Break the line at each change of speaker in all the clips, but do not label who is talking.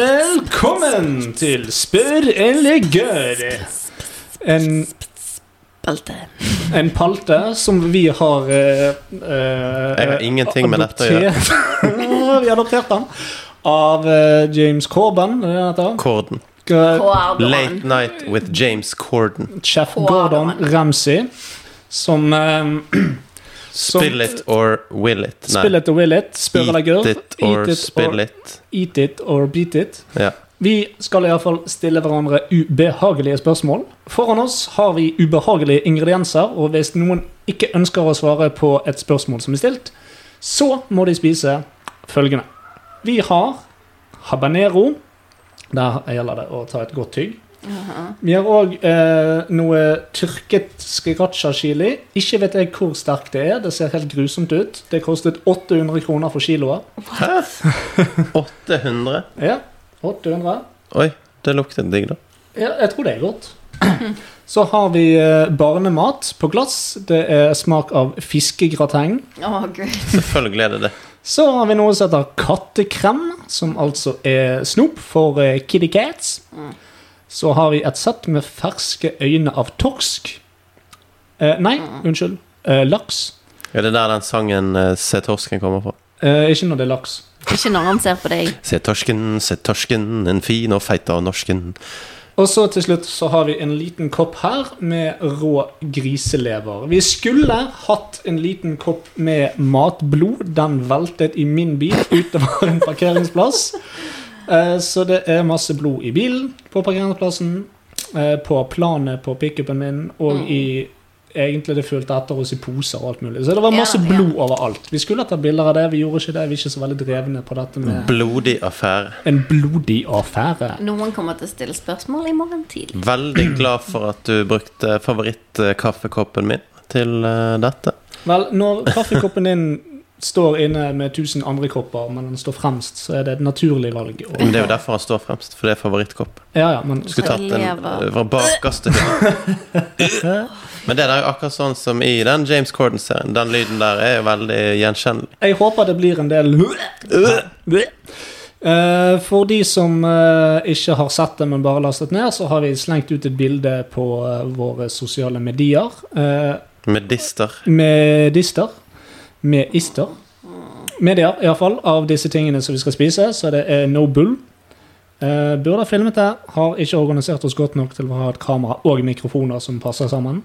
Velkommen til Spør eller gørr. En,
Spalte.
en palte som vi har eh, eh,
Jeg har ingenting med dette å gjøre.
adoptert- vi har adoptert den av eh, James Corban. Er det det heter?
Corden.
K-
Late
Hvordan?
Night with James Corden.
Chef
Corban.
Eh, Gordon Ramsay, som eh, Som-
Spill it or will it. Nei.
Spill it or will it, spør eller gørr.
Eat it or spill it.
Eat it or beat it.
Ja.
Vi skal i alle fall stille hverandre ubehagelige spørsmål. Foran oss har vi ubehagelige ingredienser, og hvis noen ikke ønsker å svare på et spørsmål som er stilt, så må de spise følgende. Vi har habanero. Der gjelder det å ta et godt tygg.
Uh-huh.
Vi har òg eh, noe tyrket sriracha-chili. Ikke vet jeg hvor sterkt det er. Det ser helt grusomt ut. Det kostet 800 kroner for kiloet.
Hæ? 800?
Ja, 800.
Oi, det lukter digg, da.
Ja, jeg tror det er godt. Så har vi eh, barnemat på glass. Det er smak av fiskegrateng.
Å, gud.
Selvfølgelig er det det.
Så har vi noe som heter kattekrem, som altså er snop for eh, kitty cats. Så har vi et sett med ferske øyne av torsk. Eh, nei, unnskyld. Eh, laks.
Ja, det er der den sangen eh, 'Se torsken' kommer fra.
Eh, ikke når det er laks.
Ikke når han ser på deg.
Se torsken, se torsken, en fin og feit av norsken.
Og så til slutt så har vi en liten kopp her med rå griselever. Vi skulle hatt en liten kopp med matblod. Den veltet i min bil utover en parkeringsplass. Eh, Så det er masse blod i bilen, på parkeringsplassen, eh, på planet på pickupen min
Mm.
og i Egentlig det fulgte etter oss i poser og alt mulig. Så det var masse
Ja, ja.
blod overalt. Vi skulle ta bilder av det, vi gjorde ikke det. Vi er ikke så veldig drevne på dette med
Blodig affære.
en blodig affære.
Noen kommer til å stille spørsmål i morgen tidlig.
Veldig glad for at du brukte favorittkaffekoppen min til eh, dette.
Vel, når kaffekoppen din står inne med tusen andre kopper, men den står fremst, så er det et naturlig valg. å-
Men det er jo derfor han står fremst, for det er favorittkopp.
Ja, ja, men
Skulle tatt den
Lever.
fra bakerste hylle. Men det der er jo akkurat sånn som i den James Corden-serien. Den lyden der er jo veldig gjenkjennelig.
jeg håper det blir en del Øh! Eh, For de som eh, ikke har sett det, men bare lastet ned, så har vi slengt ut et bilde på eh, våre sosiale medier eh,
Medister.
med dister. Med ister. Medier, iallfall. Av disse tingene som vi skal spise, så det er no bull. Eh, burde ha filmet det. Har ikke organisert oss godt nok til å ha et kamera og mikrofoner som passer sammen.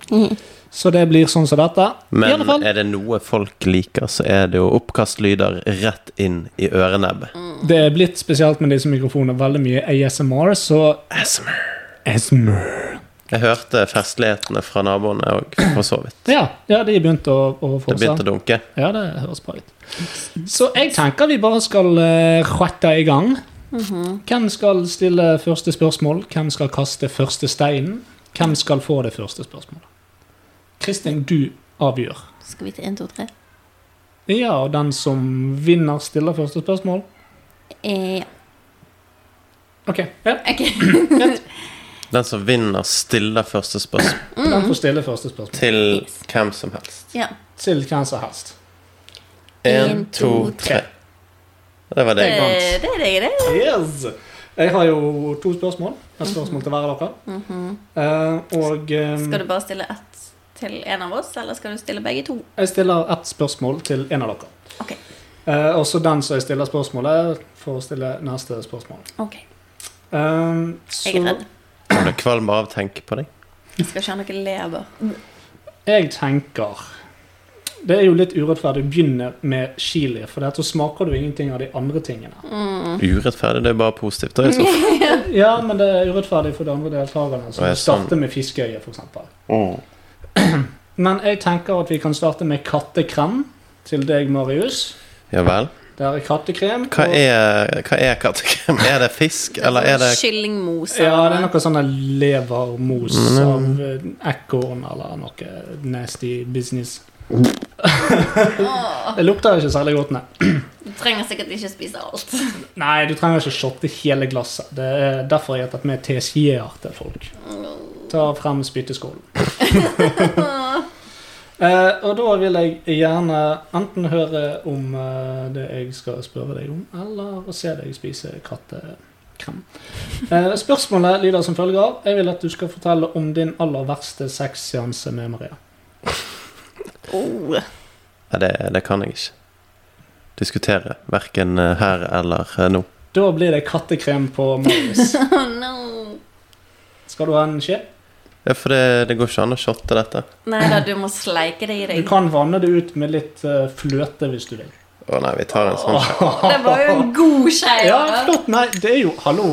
Så det blir sånn som dette. I alle
Men
fall.
er det noe folk liker, så er det jo oppkastlyder rett inn i ørenebbet.
Det er blitt spesielt med disse mikrofonene veldig mye ASMR, så
ASMR.
ASMR.
Jeg hørte festlighetene fra naboene òg, for så vidt.
Ja, ja, de begynte å, å få
Det begynte å dunke.
Ja, det høres bra ut. Så jeg tenker vi bare skal eh, rette i gang.
Mm-hmm.
Hvem skal stille første spørsmål? Hvem skal kaste første steinen? Hvem skal få det første spørsmålet? Kristin, du avgjør.
Skal vi til 1, 2, 3?
Ja, og den som vinner, stiller første spørsmål.
Eh, ja.
Ok, ja.
Ok.
Den som vinner, stiller første spørsmål
Mm.
den får stille første spørsmål.
til hvem som helst.
ja.
Til hvem som helst.
Én, to, tre. Det var
Det,
deg.
Eh, det er deg, det.
Yes! Jeg har jo to spørsmål. Et spørsmål til hver av dere. Eh, og eh,
Mm-hmm. Skal du bare stille ett til en av oss, eller skal du stille begge to?
jeg stiller ett spørsmål til en av dere.
Ok.
Eh, også den som jeg stiller spørsmålet, får stille neste spørsmål.
Ok,
Ehm,
jeg er
så
redd.
Jeg ble kvalm bare av å tenke på deg.
Jeg skal ikke ha noe lever.
jeg tenker Det er jo litt urettferdig å begynne med chili, for det at så smaker du ingenting av de andre tingene.
Mm.
Urettferdig. Det er bare positivt. Det er så
Ja, men det er urettferdig for de andre deltakerne, som
Å, ja, sånn.
starter med fiskeøye, f.eks.
Mm.
Men jeg tenker at vi kan starte med kattekrem til deg, Marius.
Ja vel.
Der er kattekrem.
Hva
og-
er, hva er kattekrem? Er det fisk, eller er det
Kyllingmos.
Ja, det
eller
er
noe.
noe sånn der levermos
Mm.
av eh, ekorn eller noe nasty business. det lukter ikke særlig godt, nei.
Du trenger sikkert ikke spise alt.
Nei, du trenger ikke shotte hele glasset. Det er derfor jeg har tatt med tesjeer til folk. Ta frem spytteskålen. Eh, og da vil jeg gjerne enten høre om eh, det jeg skal spørre deg om, eller å se deg spise kattekrem. Eh, spørsmålet lyder som følger. Jeg vil at du skal fortelle om din aller verste sexseanse med Maria.
Oh.
Nei, det, det kan jeg ikke diskutere. Verken eh, her eller eh, nå.
Da blir det kattekrem på Marius.
oh no.
Skal du ha en skje?
Ja, for det, det går ikke an å shotte dette.
Nei da, du må sleike det i
Du
deg.
kan vanne det ut med litt eh, fløte hvis du vil.
Å nei, vi tar en sånn.
Det var jo en god skje.
Ja,
da.
flott. Nei, det er jo Hallo.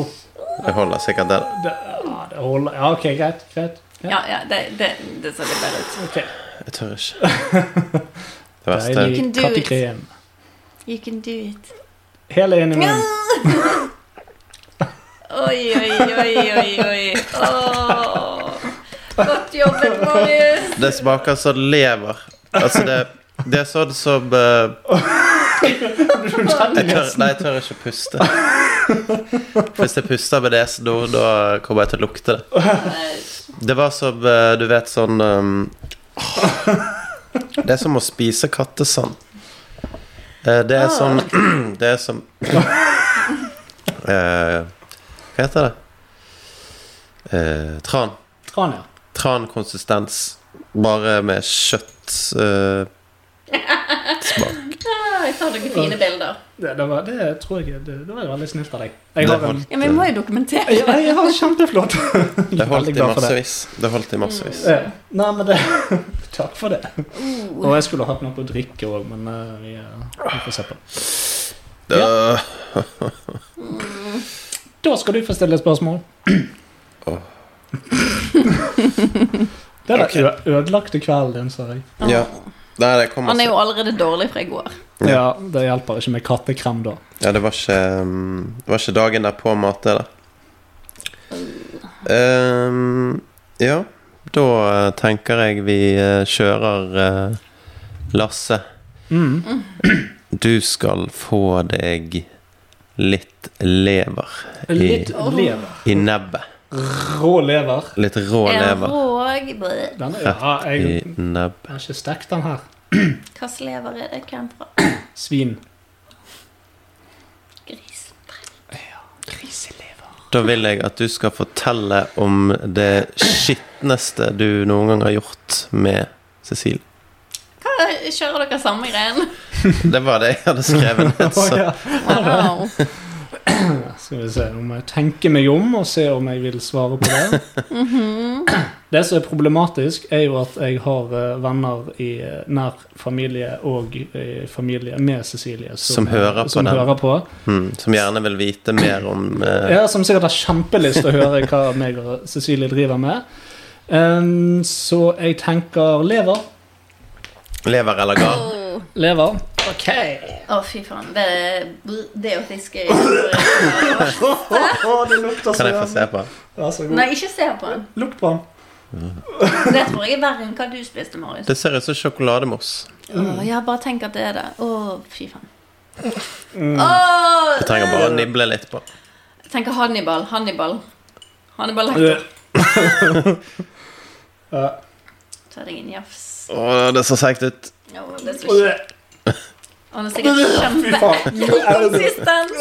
Jeg holder sikkert den.
Det, ja, det holder. Ja, OK, greit. greit. greit.
ja, ja, det, det, det så litt bedre ut.
Ok.
Jeg tør ikke. Det verste
Deilig
Can do it.
kattekrem.
You can do it.
Hele inn i munnen.
Oi, oi, oi, oi, oi. Åh. Godt jobbet, Marius.
Det smaker så lever. Altså, det, det er sånn som eh, jeg tør, Nei, jeg tør ikke å puste. Hvis jeg puster med nesen nå, da kommer jeg til å lukte det. Det var som eh, Du vet sånn eh, Det er som å spise kattesand. Eh, Det
Ah.
er sånn Det er som eh, Hva heter det? Eh, Tran.
Tran, ja.
Trankonsistens, bare med kjøtt eh, smak.
Ah, Jeg tar noen fine bilder.
Det, det, var, det tror jeg det, det var veldig snilt av deg.
Det
Jeg har, en,
holdt, eh,
Ja, men vi må jo dokumentere.
jeg, jeg har kjempeflott.
det holdt
Veldig
i
glad for det.
massevis. Det holdt i massevis.
Mm.
Ja. Nei, men det Takk for det.
Oh.
Og jeg skulle hatt noe å drikke òg, men eh, vi, eh, vi får se på.
Da,
Da skal du få stille et spørsmål.
Åh.
Det er den ø- ødelagte kvelden din, sa jeg.
ja. Nei, det kom
Han er
masse.
jo allerede dårlig fra i går.
Ja.
Ja, Det hjelper ikke med kattekrem, da.
Ja, det var ikke, um, det var ikke dagen derpå mat, det da. Ehm, ja, da eh, tenker jeg vi eh, kjører eh, Lasse.
Mm.
Du skal få deg litt lever
Litt
Åh.
lever.
i nebbet.
Rå lever.
Litt rå
En
lever.
råg
Den er, ja, jeg
i nebb.
jeg har ikke stekt den her.
Hvilken lever er det? Hvem fra?
Svin.
Gris.
Griselever.
Da vil jeg at du skal fortelle om det skitneste du noen gang har gjort med Cecilie.
Hva, kjører dere samme greien?
Det var det jeg hadde skrevet ned.
Å,
Så.
ja.
Wow.
Skal vi se om jeg tenker meg om og ser om jeg vil svare på det. Det som er problematisk, er jo at jeg har eh, venner i eh, nær familie og i familie med Cecilie
Som hører på
som
den.
hører på.
Mm, som gjerne vil vite mer om eh,
Ja, som sikkert har kjempelyst til å høre hva meg og Cecilie driver med. Ehm, så jeg tenker lever.
lever
Å,
eller gal.
Lever. Ok.
Å, fy faen. Det, det å fiske i-
det lukter
Kan jeg få se på?
Vær så god.
Nei, ikke se på den.
Lukt på den.
Det tror jeg er verre enn hva du spiste, Marius.
Det ser ut som sjokolademousse.
Å, ja, bare tenk at det er det. Å, fy faen.
Mm.
Å,
Jeg trenger bare å nible litt på.
tenk Hannibal. Hannibal. Hannibal Lecter.
Ja.
Ta deg en jafs.
Å, det ser seigt ut.
Å, det er så
Fy
kjipt. Han er sikkert
faen.
kjempekonsistens.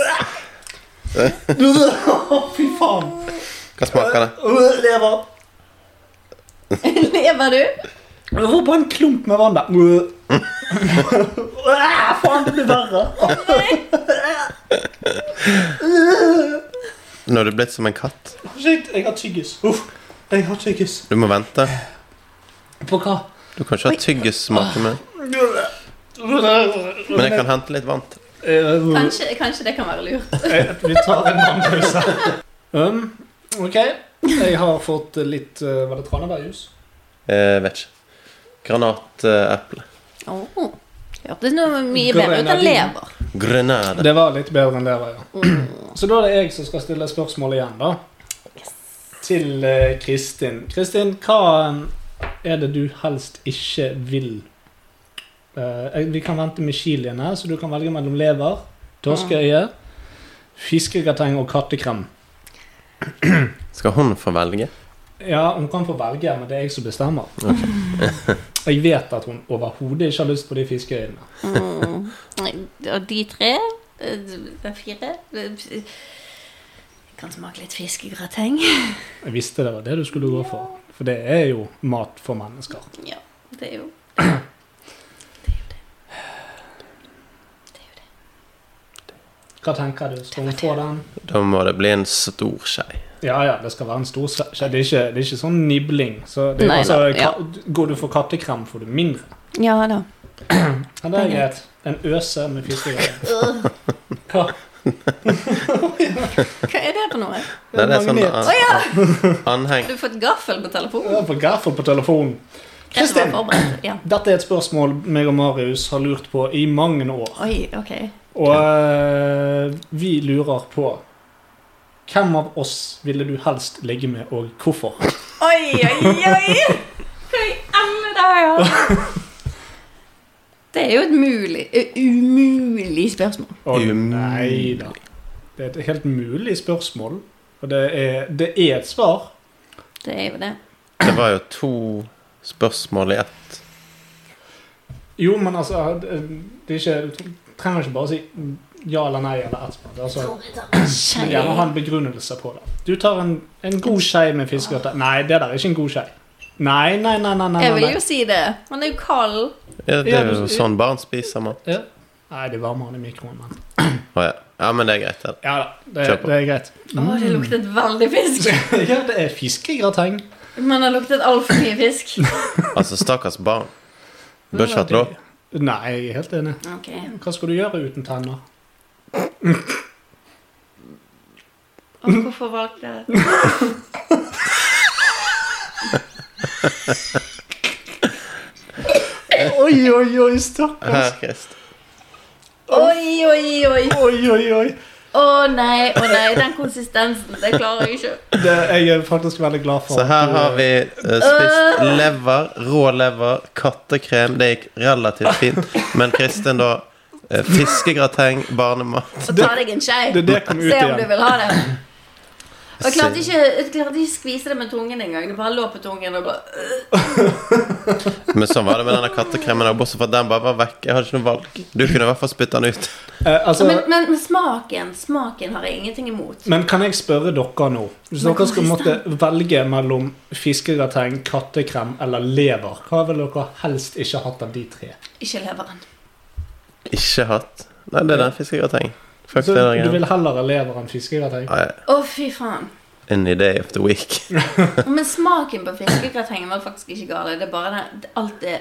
Fy faen.
Hva smaker det?
Øh, Lever.
Lever du?
Det var bare en klump med vann der.
Mm.
Øh. Øh, Faen, det blir verre.
Nå er du blitt som en katt.
Shit, jeg har tyggis. Uff. Jeg har tyggis.
Du må vente.
På hva?
Du kan ikke ha tyggis smake med. Men jeg kan hente litt vann. til.
Øh,
Kanskje, kanskje det kan være lurt.
eh, Vi tar en vannpause. Um, ok. Jeg har fått litt øh, Var det tranebærjus?
Eh, vet ikke. eh, Granateple.
Oh. Hørtes noe mye bedre ut enn lever.
Grenade.
Det var litt bedre enn lever, ja. Så da er det jeg som skal stille spørsmål igjen, da. Til eh, Kristin. Kristin, hva eh, er det du helst ikke vil? Eh, jeg- vi kan vente med chiliene, så du kan velge mellom lever, torskeøye, fiskegrateng og kattekrem.
Skal hun få velge?
Ja, hun kan få velge, men det er jeg som bestemmer. Og jeg vet at hun overhodet ikke har lyst på de fiskeøynene.
Mm. Og de tre eh, de Fire eh, Kan smake litt fiskegrateng.
Jeg visste det var det du skulle gå for. For det er jo mat for mennesker.
Ja, det er jo
Hva tenker du? Skal hun få den?
Da må det bli en stor skei.
Ja ja, det skal være en stor skje. Det er ikke, det er ikke sånn nibling. Så det er,
Nei,
altså,
nei, ja.
ka- Går du for kattekrem, får du mindre.
Ja da.
Ja, det er greit. En øse med fiskeøyne.
Hva
Hva?
er det for noe?
Nei, det er sånn
Magnet.
an
Å ja!
an- anheng.
Har du fått gaffel på telefonen?
Jeg får gaffel på telefonen.
Greit å
Kristin.
være forberedt. Ja.
Dette er et spørsmål meg og Marius har lurt på i mange år.
Oi, ok.
Og eh, vi lurer på Hvem av oss ville du helst ligge med, og hvorfor?
Oi, oi, oi! Hva i alle dager? Det er jo et mulig, eh, umulig spørsmål.
Og,
Umulig.
nei da. Det er et helt mulig spørsmål. Og det er, det er et svar.
Det er jo det.
Det var jo to spørsmål i ett.
Jo, men altså det det er ikke, Du trenger ikke bare si ja eller nei eller ett spørsmål. Altså, du må
Skei.
gjerne ha en begrunnelse på det. Du tar en, en god skei med fiskegrateng. Nei, det der er ikke en god skei. Nei, nei, nei. nei, nei,
Jeg
nei,
vil
nei.
jo si det. Han er jo kald.
Ja, det
Ja,
er
du-
jo sånn barn spiser mat.
Nei, det varmer han i mikroen. Men.
Å ja. ja, men det er greit. det.
Ja da, det,
Kjør på.
det er greit. Mm.
Å, det luktet veldig fisk.
ja, det er fiskegrateng.
Men det luktet altfor mye fisk.
Altså, stakkars barn. Bør ikke hatt lov.
Nei, jeg er helt enig.
Ok.
Hva skal du gjøre uten tenner?
Og hvorfor valgte jeg det?
Oi, oi, oi,
Her,
stakkars.
Christ.
Oi, oi, oi.
Oi, oi, oi.
Å nei, å nei. Den konsistensen, det klarer jeg ikke.
Det, jeg er faktisk veldig glad for
Så her
at du-
har vi eh, spist
Øh.
lever, rå lever, kattekrem. Det gikk relativt fint. Men Kristin, da. eh, Fiskegrateng, barnemat.
Så ta deg en skei.
Det, det kom ut
Se om du
igjen.
vil ha det. Og jeg klarte ikke, jeg klarte ikke skvise det med tungen engang. Det bare lå på tungen og bare
Men sånn var det med denne kattekremen. og Bortsett fra at den bare var vekk. Jeg hadde ikke noe valg. Du kunne i hvert fall spytte den ut.
Eh, altså,
men,
men,
men, men smaken smaken har jeg ingenting imot.
kan jeg spørre dere nå? Hvis
Men
dere skal
hvordan
måtte velge mellom fiskegrateng, kattekrem eller lever, hva ville dere helst ikke hatt av de tre?
Ikke leveren.
Ikke hatt. Nei, det er den fiskegrateng. Fuck
Så
det der
du
greia.
vil heller ha lever enn fiskegrateng?
Nei,
Å, fy faen.
Any day of the week.
Men smaken på fiskegratengen var faktisk ikke gal. Det er bare den, det- alt er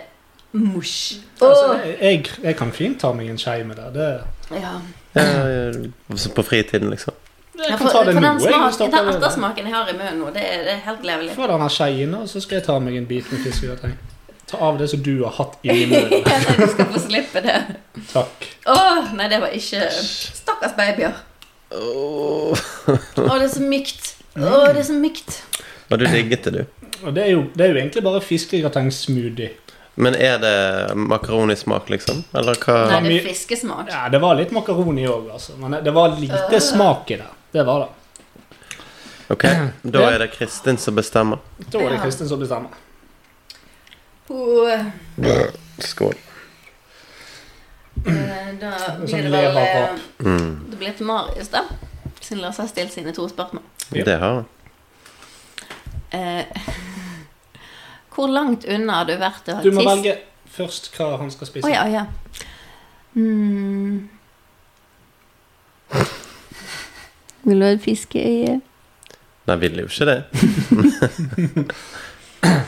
mosj.
Altså,
Åh!
jeg, jeg kan fint ta meg en skei med det. det
ja.
Ja, ja, På fritiden, liksom.
jeg
for,
kan ta det
for
nå.
den,
jeg, hvis
smaken,
dere
den
vil det.
ettersmaken jeg har i munnen nå, det er, det er helt levelig.
Få denne skeien, og så skal jeg ta meg en bit med fiskegrateng. Ta av det som du har hatt inni munnen.
du skal få slippe det.
Takk.
Åh, nei, det var ikke Stakkars babyer.
Åh.
Åh, det er så mykt. Åh, det er så mykt.
Og du digget det, du.
Og det er jo, det er jo egentlig bare fiskegratengsmoothie.
Men er det makaronismak, liksom? Eller hva?
Nei, det er fiskesmak.
Ja, det var litt makaroni òg, altså. Men det var
Øh.
lite smak i det. Det var det.
Ok, da er det Kristin som bestemmer.
Da er det
Ja.
Kristin som bestemmer.
Åh,
Skål.
eh, da blir det
Sånn
vel eh,
leverpap.
Mm.
Det blir til Marius, da. Siden Lars har stilt sine to spørsmål.
Ja.
Det har hun.
Eh, hvor langt unna har du vært å ha
Du må
tiss?
velge først hva han skal
Å
spise.
ja, ja. Mm. Vil du ha et fiskeøye?
Nei, ville jo ikke det.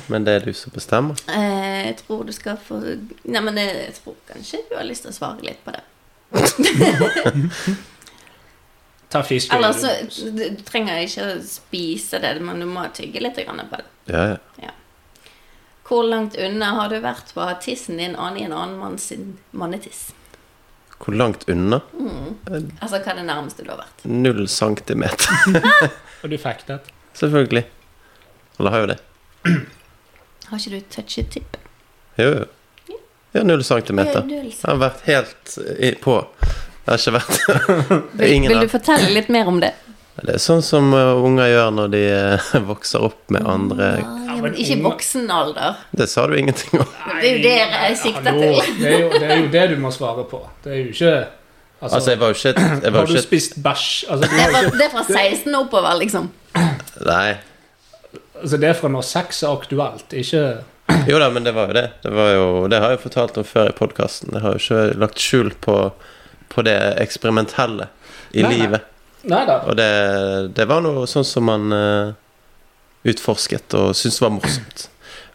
Men det er du som bestemmer.
Eh, jeg tror du skal få Nei, men jeg, jeg tror kanskje du har lyst til å svare litt på det.
Ta fisk.
Eller så du, du trenger ikke å spise det, men du må tygge litt grann på det.
Ja, ja.
Hvor langt unna har du vært på å ha tissen din annen i en annen mann sin mannetiss?
Hvor langt unna? Mm.
Altså hva er det nærmeste du har vært?
Null centimeter.
Og du fikk det.
Selvfølgelig. Eller har jo det.
Har ikke du touchet tippen?
Jo, jo. Ja, null centimeter.
Du er liksom-
Jeg har vært helt eh, i, på. Jeg har ikke vært
Vil,
Ingen
vil du
av
fortelle litt mer om det?
Det er sånn som eh, unger gjør når de eh, vokser opp med andre
men
Ah, ikke i
unge-
voksen alder.
Det sa du ingenting om.
Men Det er jo det jeg sikter
Hallo,
til.
Det er, jo, det er jo det du må svare på. Det er jo ikke Altså,
Altså, jeg var jo ikke, jeg var
har
jo
du
ikke
spist bæsj? Altså, du
Det
har
er, fra,
ikke,
det er fra 16 oppover, liksom.
Nei.
altså, det er fra når sex er aktuelt, ikke
Jo da, men det var jo det. Det, var jo, det har jeg jo fortalt om før i podkasten. Jeg har jo ikke lagt skjul på, på det eksperimentelle
Nei,
i
nei.
livet.
Nei da.
Og det, det var noe sånn som man eh, utforsket og syntes var morsomt.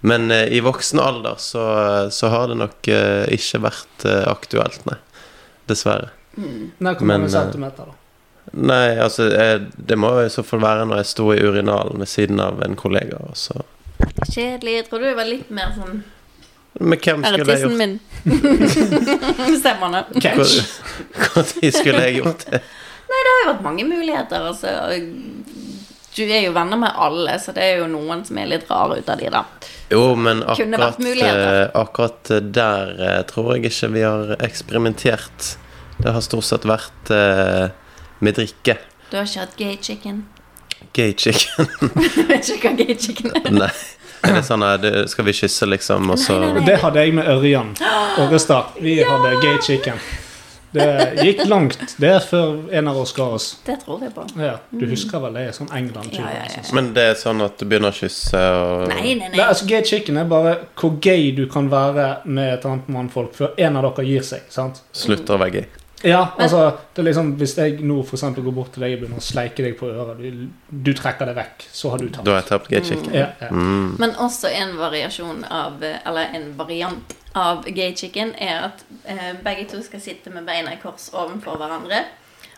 Men eh, i voksen alder så, så har det nok eh, ikke vært eh, aktuelt, nei. Dessverre.
Nei, hvor mange
Men, eh,
centimeter, da?
Nei, altså jeg, Det må i så fall være når jeg sto i urinalen ved siden av en kollega. Og så.
Kjedelig. Jeg tror du var litt mer sånn
Men hvem
Eller
skulle jeg
tissen
gjort
min. Stemmer det.
Catch.
Når skulle jeg gjort det?
Det har jo vært mange muligheter, altså. og Du er jo venner med alle, så det er jo noen som er litt rare ut av de, da.
Jo, men
Kunne
akkurat,
vært muligheter.
eh, akkurat der eh, tror jeg ikke vi har eksperimentert. Det har stort sett vært eh, med drikke.
Du har ikke hatt gay chicken?
Gay chicken.
Jeg vet ikke hva gay chicken er.
Nei. Er det sånn eh, du- Skal vi kysse, liksom, og så
Og det hadde jeg med Ørjan Orrestad. Vi hadde gay chicken. Det gikk langt. Det er før en av oss ga oss.
Det tror jeg på.
Ja, du husker vel det? er Sånn England-tur.
Ja, ja, ja.
altså.
Men det er sånn at du begynner å kysse og
Nei, nei,
Nei,
nei.
altså Gay chicken er bare hvor gay du kan være med et annet mannfolk før en av dere gir seg. sant?
slutter å være gay?
Ja, altså, det er liksom, Hvis jeg nå for eksempel går bort til deg og begynner å sleike deg på øret, du, du trekker det vekk, så har du tapt.
Da har jeg tapt gay chicken.
Ja, ja.
Mm.
Men også en variasjon av eh, Eller en variant av gay chicken er at eh, begge to skal sitte med beina i kors ovenfor hverandre.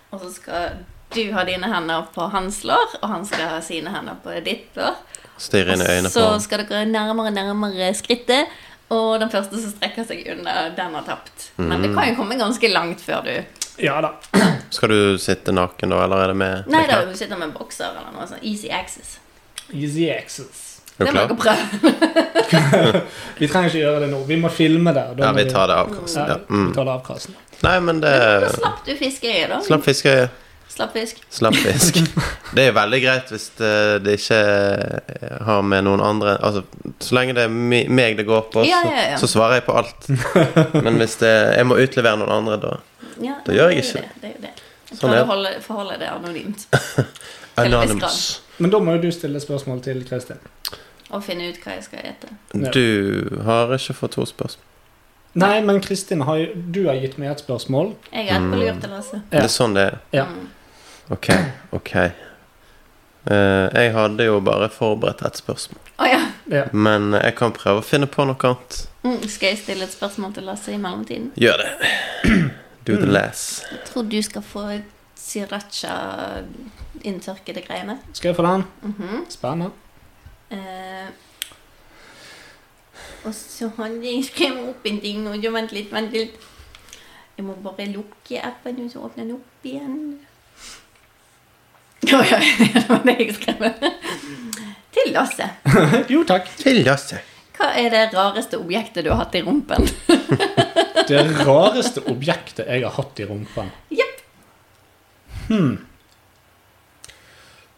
Og så skal du ha dine hender på hans lår, og han skal ha sine hender på ditt lår.
Stirre inn i
Og
øynene på
så
han.
skal dere nærmere nærmere skrittet, og den første som strekker seg unna, den har tapt. Men
Mm.
det kan jo komme ganske langt før du
ja da.
Skal du sitte naken da, eller er det med
Nei
med
da,
knapp?
hun sitter med en bokser eller noe sånt. Easy access.
Easy access.
Er
Det
du
må
klar?
dere prøve.
Vi trenger ikke gjøre det nå. Vi må filme det. og da
Ja,
må
vi tar det av. Karsten.
Ja,
Ja. Mm.
vi tar det av Karsten.
Nei, men det
Da slapp du fiskeøyet, da.
Slapp fiskeøye.
Slapp fisk.
Slapp fisk. Det er jo veldig greit hvis det, det ikke eh, har med noen andre Altså, så lenge det er mi- meg det går på,
Ja,
så,
ja, ja.
så svarer jeg på alt. Men hvis det, jeg må utlevere noen andre, da
Ja,
Da gjør
er jo
jeg ikke
det. Det er jo det. Jeg
Sånn
prøver
er
å holde, forholde det anonymt. en viss
Anonymous.
Men da må jo du stille spørsmål til Kristin.
Og finne ut hva jeg skal ete.
Ja.
Du har ikke fått to spørsmål.
Nei, men Kristin, har jo, du har gitt meg et spørsmål.
Jeg
Mm.
er på lur til Lasse.
Ja.
Det er sånn det er.
Ja.
Mm.
Ok, ok. Eh, jeg hadde jo bare forberedt ett spørsmål,
Å ja.
Ja.
men jeg kan prøve å finne på noe annet.
Mm. Skal jeg stille et spørsmål til Lasse i mellomtiden?
Gjør det. Do the less.
Jeg tror du skal få siracha-inntørkede greiene.
Skal jeg få den?
Mhm.
Spennende.
eh, og så hadde jeg skrevet opp en ting og du, Vent litt, vent litt. Jeg må bare lukke appen, og så åpne den opp igjen. Å ja, det var det jeg skrev. Til Lasse.
jo, takk.
Til Lasse.
Hva er det rareste objektet du har hatt i rumpen?
Det rareste objektet jeg har hatt i rumpen.
Jepp.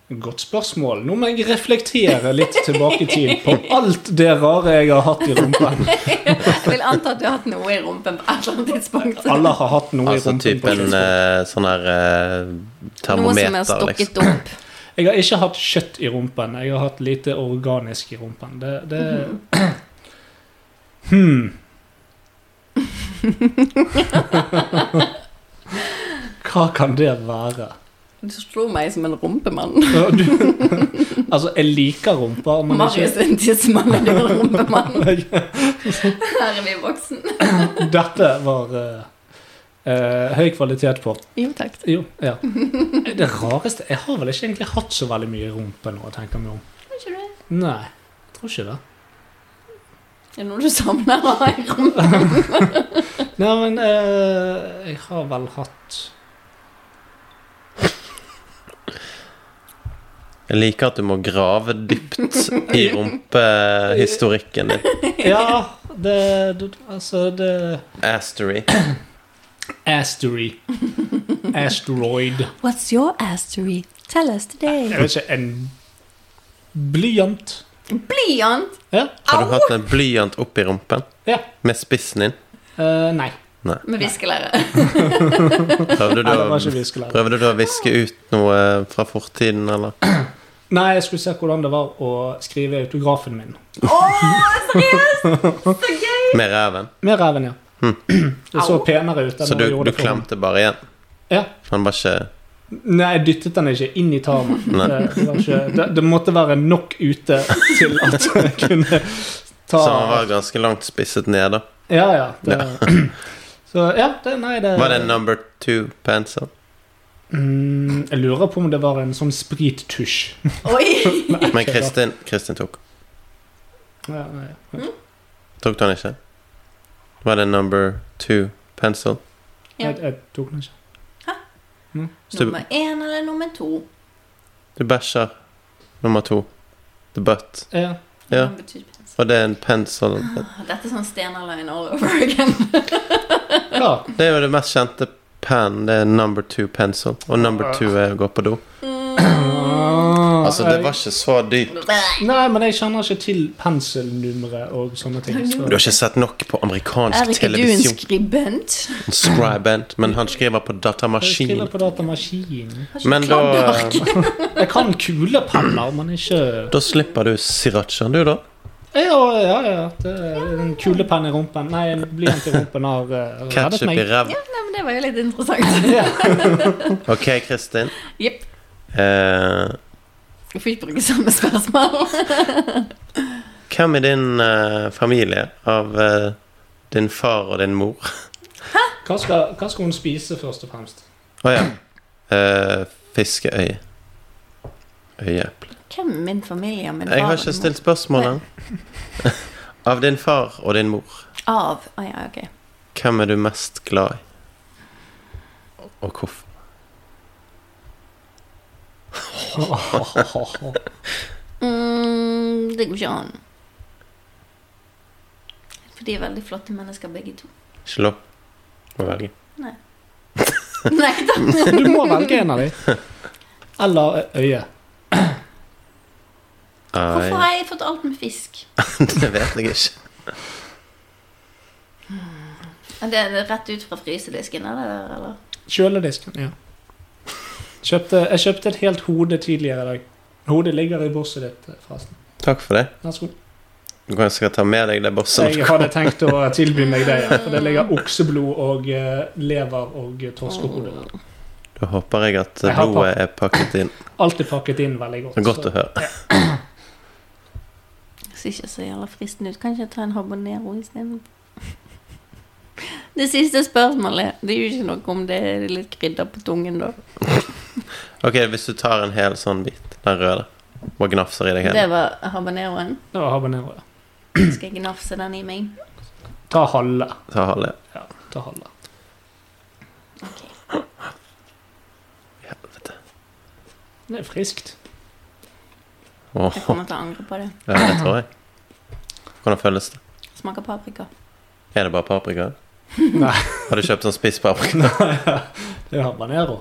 Godt spørsmål. Nå må jeg reflektere litt tilbake i tid på alt det rare jeg har hatt i rumpen.
Jeg vil anta at du har hatt noe i rumpen på et eller annet tidspunkt.
Alle har hatt noe i
Altså
rumpen. på et
typen
tidspunkt.
eh, sånn her eh,
Noe som
termometer,
er stokket
liksom.
opp.
Jeg har ikke hatt kjøtt i rumpen. Jeg har hatt lite organisk i rumpen. Det, det
Mm.
hmm. Hva kan det være?
Du slo meg som en rumpemann.
Ja, Du, altså, jeg liker rumper, men ikke
Marius er en tissemann, og du er en rumpemann. Her er vi voksen.
Dette var eh, eh, høy kvalitet på.
Jo, takk.
Jo, ja. Det rareste Jeg har vel ikke egentlig hatt så veldig mye i rumpen nå, tenker jeg meg om.
Er ikke det?
Nei, jeg tror ikke det.
Er det noe du savner å ha i rumpen?
Nei, men eh, jeg har vel hatt
Jeg liker at du må grave dypt i rumpehistorikken din.
Ja, det, det Altså, det
Astery.
Astery. Asteroid.
What's your astery? Tell us today.
Jeg vet ikke En blyant.
Blyant!
Ja.
Har du
Au!
hatt en blyant oppi rumpen
ja.
med spissen din?
Eh, nei.
Med viskelære.
Prøvde du,
nei. Det var
å,
ikke viskelære.
prøvde du å viske ut noe eh, fra fortiden, eller?
Nei, jeg skulle se hvordan det var å skrive autografen min.
Å, seriøst! Så gøy!
Med reven?
Med reven, ja. Det så
Au.
penere ut enn
Hm. Så
når
du,
jeg gjorde
du
det for
klemte bare igjen?
Ja.
Han var ikke
Nei, jeg dyttet den ikke inn i tarmen. Eh,
Nei.
Det, det, var ikke, det, det måtte være nok ute til at jeg kunne ta
Så han var ganske langt spisset ned, da.
Ja, ja. Det, Så ja, det, nei, det
Var det en number two pencil?
mm, Jeg lurer på om det var en sånn sprittusj.
Oi!
Nei,
Men
ikke da.
Kristin, Kristin tok.
Ja, nei, ja.
Tok du han ikke? Var det en number two pencil?
Ja.
Jeg, jeg tok den ikke.
Så du,
Nummer én eller nummer to?
du bæsjer nummer to. The butt.
Ja.
Ja.
Nummer two pencil.
Og det er en pencil
Ah, Dette er sånn Stena-line all over again.
ja.
Det er jo det mest kjente pen. Det er number two pencil. Og number two er å gå på do. Altså, det var ikke så dypt.
Nei, men jeg kjenner ikke til penselnumre og sånne ting. Så.
Du har ikke sett nok på
Er
amerikansk
ikke du en
televisjon.
skribent?
Scribent, men han skriver
Jeg
på
skriver
datamaskin.
på datamaskin.
Har ikke
Men
du
da,
kladdark?
Jeg kan kulepenner, men ikke
da slipper du sirachaen, du, da.
Ja, ja, ja. Det er en kulepenn i rumpen. Nei, en blyant i rumpen har eh, reddet
Ketchup
meg.
i ræva.
Nei, men det var jo litt interessant.
Ok, Kristin.
Jepp.
Eh,
Jeg får ikke bruke samme spørsmål.
hvem i din eh, familie av eh, din far og din mor?
Hva skal, hva skal hun spise, først og fremst?
Å ja. Eh, fiskeøye. Øyeeple.
Hvem i min familie? Min
Jeg
far
har
og
ikke
min mor?
stilt spørsmålet. av din far og din mor,
Av. Å ja, ok.
hvem er du mest glad i? Og hvorfor?
Mm, det går ikke an. For de er veldig flotte mennesker, begge to.
Ikke lov å velge.
Nei da.
Du må velge en av dem. Eller eh, øye.
Hvorfor
Nei,
har jeg fått alt med fisk?
det vet jeg ikke.
Er det er det rett ut fra frysedisken, eller? eller?
Kjøledisken, ja. Kjøpte, jeg kjøpte et helt hode tidligere i dag. Hodet ligger i bosset ditt, eh, forresten.
Takk for det.
Vær så god.
Du kan sikkert ta med deg det bosset.
Jeg hadde tenkt å tilby meg det, ja. For det ligger okseblod og eh, lever og eh, torskehode.
Mm.
Da håper jeg at eh,
Jeg har
blodet er pakket inn.
Alt er pakket inn veldig godt.
Det er godt
så-
å høre.
Det ser ikke så jævla fristende ut. Kan ikke jeg ta en habanero isteden? Det siste spørsmålet Det er jo ikke noe om det er litt krydder på tungen, da.
Ok, hvis du tar en hel sånn bit, den røde, og gnafser i deg
Det
hele
var habaneroen.
Det var habanero, ja.
Skal jeg gnafse den i meg?
Ta halve.
Ta halve.
Ja, ta halve.
Helvete.
Det er friskt.
Åh,
Jeg kommer til å angre på det.
ja, det tror jeg. Hvordan føles det?
Smaker paprika.
Er det bare paprika?
Nei.
Har du kjøpt sånn spiss paprika?
Det er habanero.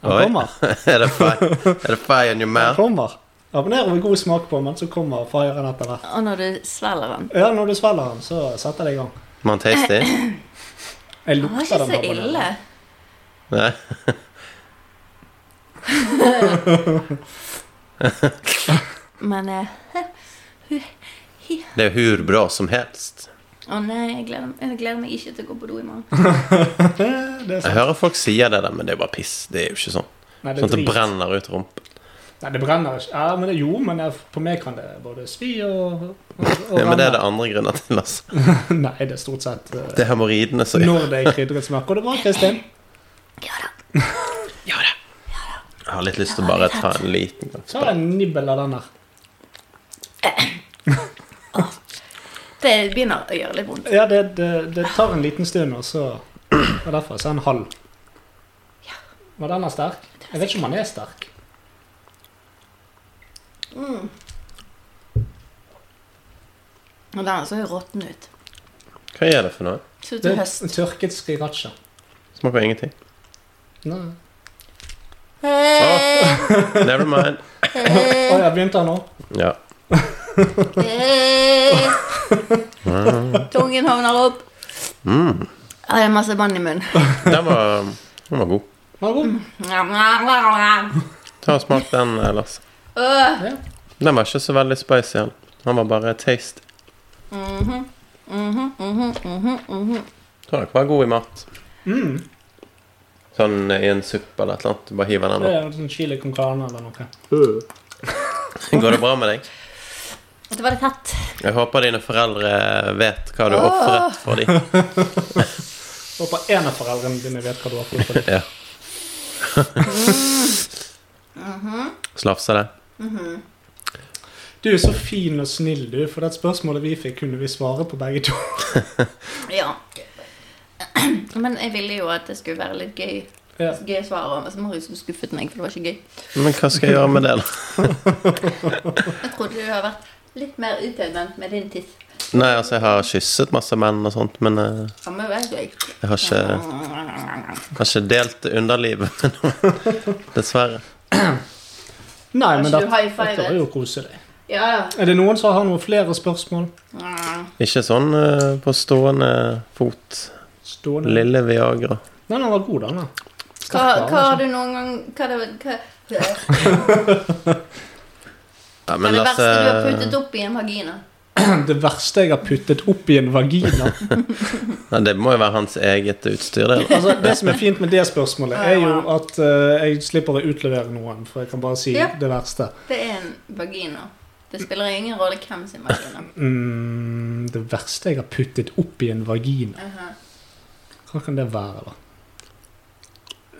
Den
Oi.
kommer.
Er det fire, er det fire in your
Den
mouth?
kommer. Habanero med god smak på, men så kommer firen etter hvert.
Og når du svelger den
Ja, når du svelger den, så setter det i gang.
Man tasty?
Jeg
Den var
lukter
ikke
den
så
habanero.
ille.
Nei?
Men eh,
Det er hur bra som helst.
Å nei, jeg gleder, jeg gleder meg ikke til å gå på do i morgen.
Det er
Jeg
sant.
hører folk sier det der, men det er bare piss. Det er jo ikke sånn.
Nei, det er
Sånn at det
drit.
brenner ut rumpen.
Nei, det brenner ikke. Ja, men det, jo, men jeg, på meg kan det både svi og, og, og
Ja, men det
renne.
er det andre grunner til, altså.
Nei, det er stort sett eh,
Det er hemoroidene som
når det er krydret smak. Og det var Kristin.
Jeg har litt lyst til å bare ta en liten
Ta en nibbel av den der.
Det begynner å gjøre litt vondt.
Ja, det, det, det tar en liten stund, og så Og derfor så er en halv. Var den er sterk? Jeg vet ikke om han er sterk.
Mm. Og den så jo råtten ut.
Hva er det for noe?
Så ut
Det
til
er
høst.
tørket sriracha.
Smaker ingenting.
Nei.
Eh,
Never mind.
Å ja, begynte han nå?
Ja.
Eh, Tungen havner opp.
Mm.
Ja, Det er masse vann i munnen.
Den var, den var god.
Var det god?
Mm.
Ta og Smak den, eh, Lars.
Åh,
Den var ikke så veldig spicy. Han, han var bare taste.
mhm, mhm, mhm, mhm, mhm.
Tror dere var god i mat.
Mm.
Sånn eh, i en suppe eller et eller annet. Bare hiv den
Det
opp.
er sånn chili con carne eller noe.
Går det bra med deg?
Dette var litt hett.
Jeg håper dine foreldre vet hva du
Åh.
ofret for dem.
Håper en av foreldrene dine vet hva du har fått for det.
Ja. Slafsa det?
Mhm.
Du er så fin og snill, du, for det spørsmålet vi fikk, kunne vi svare på begge to.
Ja. Men jeg ville jo at det skulle være litt gøy.
Ja.
Gøy svar også, men så Marius du skuffet meg, for det var ikke gøy.
Men hva skal jeg gjøre med det, da?
Jeg trodde du hadde vært litt mer utadvendt med din tiss.
Nei, altså, jeg har kysset masse menn og sånt, men eh,
Han må jo være gøy.
jeg har ikke, har ikke delt underlivet med noen. Dessverre.
Nei, men
Kanskje
dette
du high five
dette var jo koselig.
Ja, ja.
Er det noen som har noen flere spørsmål?
Ikke sånn eh, på stående fot.
Stående Nei,
Lille Viagra.
den var god, den. da.
Hva, hva
Sterk
har
varme,
du noen gang Hva er det, hva, hva er det
Ja, men
verste du har
Lasse
puttet opp i en vagina?
sånn. Det verste jeg har puttet opp i en vagina.
Nei, det må jo være hans eget utstyr, det. da.
Altså, det som er fint med det spørsmålet, er jo at eh, jeg slipper å utlevere noen, for jeg kan bare si
Ja.
det verste.
Det er en vagina. Det spiller ingen rolle hvem sin vagina.
Mm, det verste jeg har puttet opp i en vagina,
Aha.
hva kan det være, da?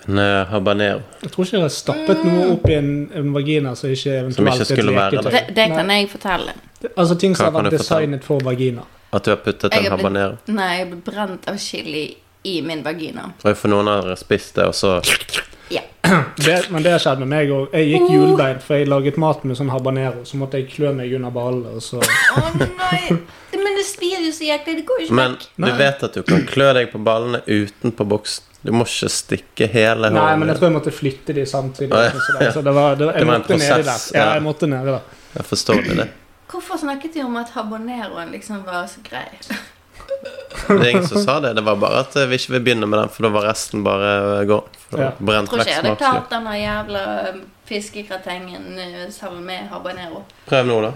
En eh, habanero.
Jeg tror ikke jeg har
Mm.
stappet noe opp i en, en vagina som ikke
Som
eventuelt
ikke skulle være det.
Det, det kan jeg fortelle.
Nei, Altså ting som
Hva
har
kan
vært
du fortelle?
designet for vagina.
At du har puttet
Jeg
en
har blitt-
habanero.
Nei, jeg ble brent av chili i min vagina.
Og for noen har spist det, og så
Det, men det skjedde med meg òg. Jeg gikk hjulbein, for jeg laget mat med sånn habanero. Så måtte jeg klø meg under ballene, og så
Å nei! Det- Men det svir jo så jæklig. Det går jo ikke
Men
vekk.
du
Nei.
vet at du kan klø deg på ballene utenpå boksen. Du må ikke stikke
Nei,
hele
men jeg
hånden.
tror jeg måtte flytte de samtidig.
Å, ja.
Så det, så det var, det, jeg
Det var en
måtte nedi der.
prosess,
Ja,
ja.
jeg måtte nedi der.
Jeg forstår det.
Hvorfor snakket de om at habaneroen liksom var så grei?
Det er ingen som sa det. Det var bare at eh, vi ikke vil begynne med den, for da var resten bare eh, gå. For det
Ja.
var Brent
Tror ikke
vekk
jeg hadde
smaksløk.
klart den der jævla um, fiskegratengen uh, sammen med habanero.
Prøv nå, da.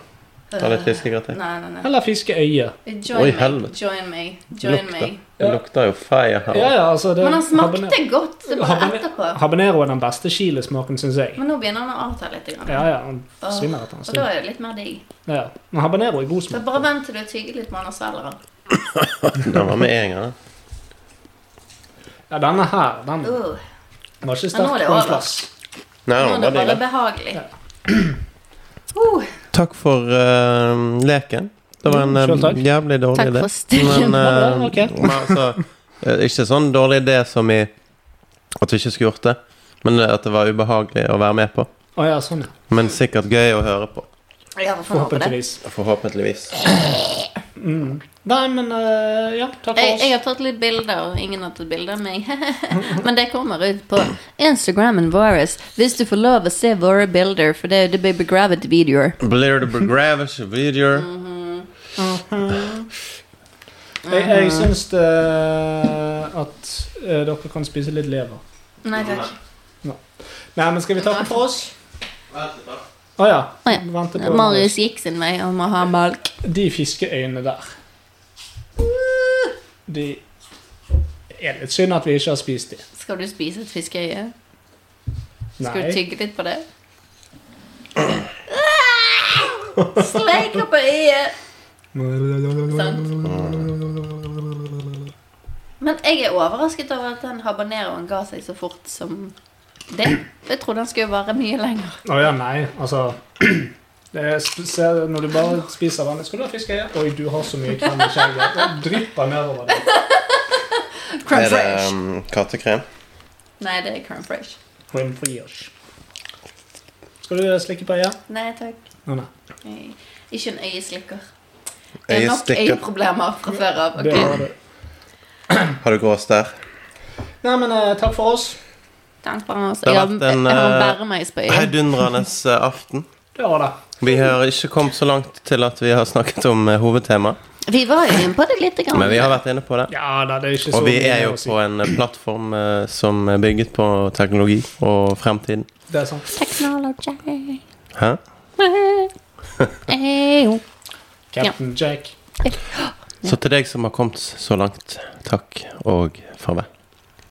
Ta litt
Øh,
fiskegrateng.
Nei, nei, nei.
Eller fiskeøye.
Join
Oi,
meg.
helvete.
Join meg. Join
Lukter.
meg.
Det
Ja.
lukter jo fire her.
Ja, ja, altså det,
Men han
habanero-
smakte godt. Det var
Habane-
etterpå.
Habanero er den beste chilismaken, syns jeg.
Men nå begynner han å avta litt. Grann.
Ja, ja, han svinner etter en
Og da
stund.
er det litt mer digg.
Ja, ja. Men habanero er god
Så
smak.
bare vent til du har tygget litt med anaselleren.
Den var med en gang. da.
Ja, denne her, den
Mm.
Uh, Ja,
var ikke
nå er
sterk
det
på en
over.
plass.
nå
Nei,
er
den
det
var bare
bare
digg.
behagelig.
Ja.
da.
Uh,
Takk for eh, leken. Det var en eh,
Mm, Selv takk.
jævlig dårlig
takk
idé.
for stillingen.
Men, eh,
Ja, ok.
men altså, eh, ikke sånn dårlig idé som i at vi ikke skulle gjort det, men eh, at det var ubehagelig å være med på.
Å ja, sånn, ja.
Men sikkert gøy å høre på.
Ja, vi får håpe det.
Forhåpentligvis.
Forhåpentligvis.
Mm. Nei, men eh, ja, takk for
Jeg,
oss.
jeg har tatt litt bilder, og ingen har tatt bilder av meg. Men det kommer ut på Instagrammen vår. Hvis du får lov å se våre bilder, for det er jo The Baby Gravit-videoer.
Blair the Begravish Video.
Mm,
Jeg, jeg syns det, at eh, dere kan spise litt lever.
Nei takk.
Nei, men skal vi takke for oss? Å ja.
Å ja.
Vente på
Marius gikk sin vei og må ha melk.
De fiskeøynene der. De er litt synd at vi ikke har spist de.
Skal du spise et fiskeøye? Skal du
Nei.
tygge litt på det? Ah! Sleiker på øyet! Men jeg er overrasket over at den habaneroen ga seg så fort som det. Jeg trodde den skulle vare mye lenger.
Å ja, nei, altså det er sp- se, Når du bare spiser vanlig Skal du ha fiskeøye? Oi, du har så mye krem i skjegget. Det drypper nedover deg.
Crumb
Er det
fresh.
um, kattekrem?
Nei, det er crumb fresh.
Creme fraiche. Skal du slikke på øyet?
Nei takk.
Å, nei.
Nei. Ikke en øyeslikker. Det er nok
Øyestikker?
øyeproblemer fra før av.
Det
Ok,
var det.
Har du grås der?
Nei, men eh, takk for oss.
Takk for oss.
Det
Jeg
har
har
vært en,
jeg har
eh,
bæremeis på øyet.
Heidundrende eh, aften.
Det var det.
Vi har ikke kommet så langt til at vi har snakket om eh, hovedtema,
Vi var jo inne på det lite grann.
men vi har vært inne på det.
Ja da, det er ikke så
Og vi
mye
er jo
å si.
på en eh, plattform eh, som er bygget på teknologi og fremtiden.
Det er sant.
Technology.
Hæ?
Eyo.
Captain Jack.
Så til deg som har kommet så langt, takk og farvel.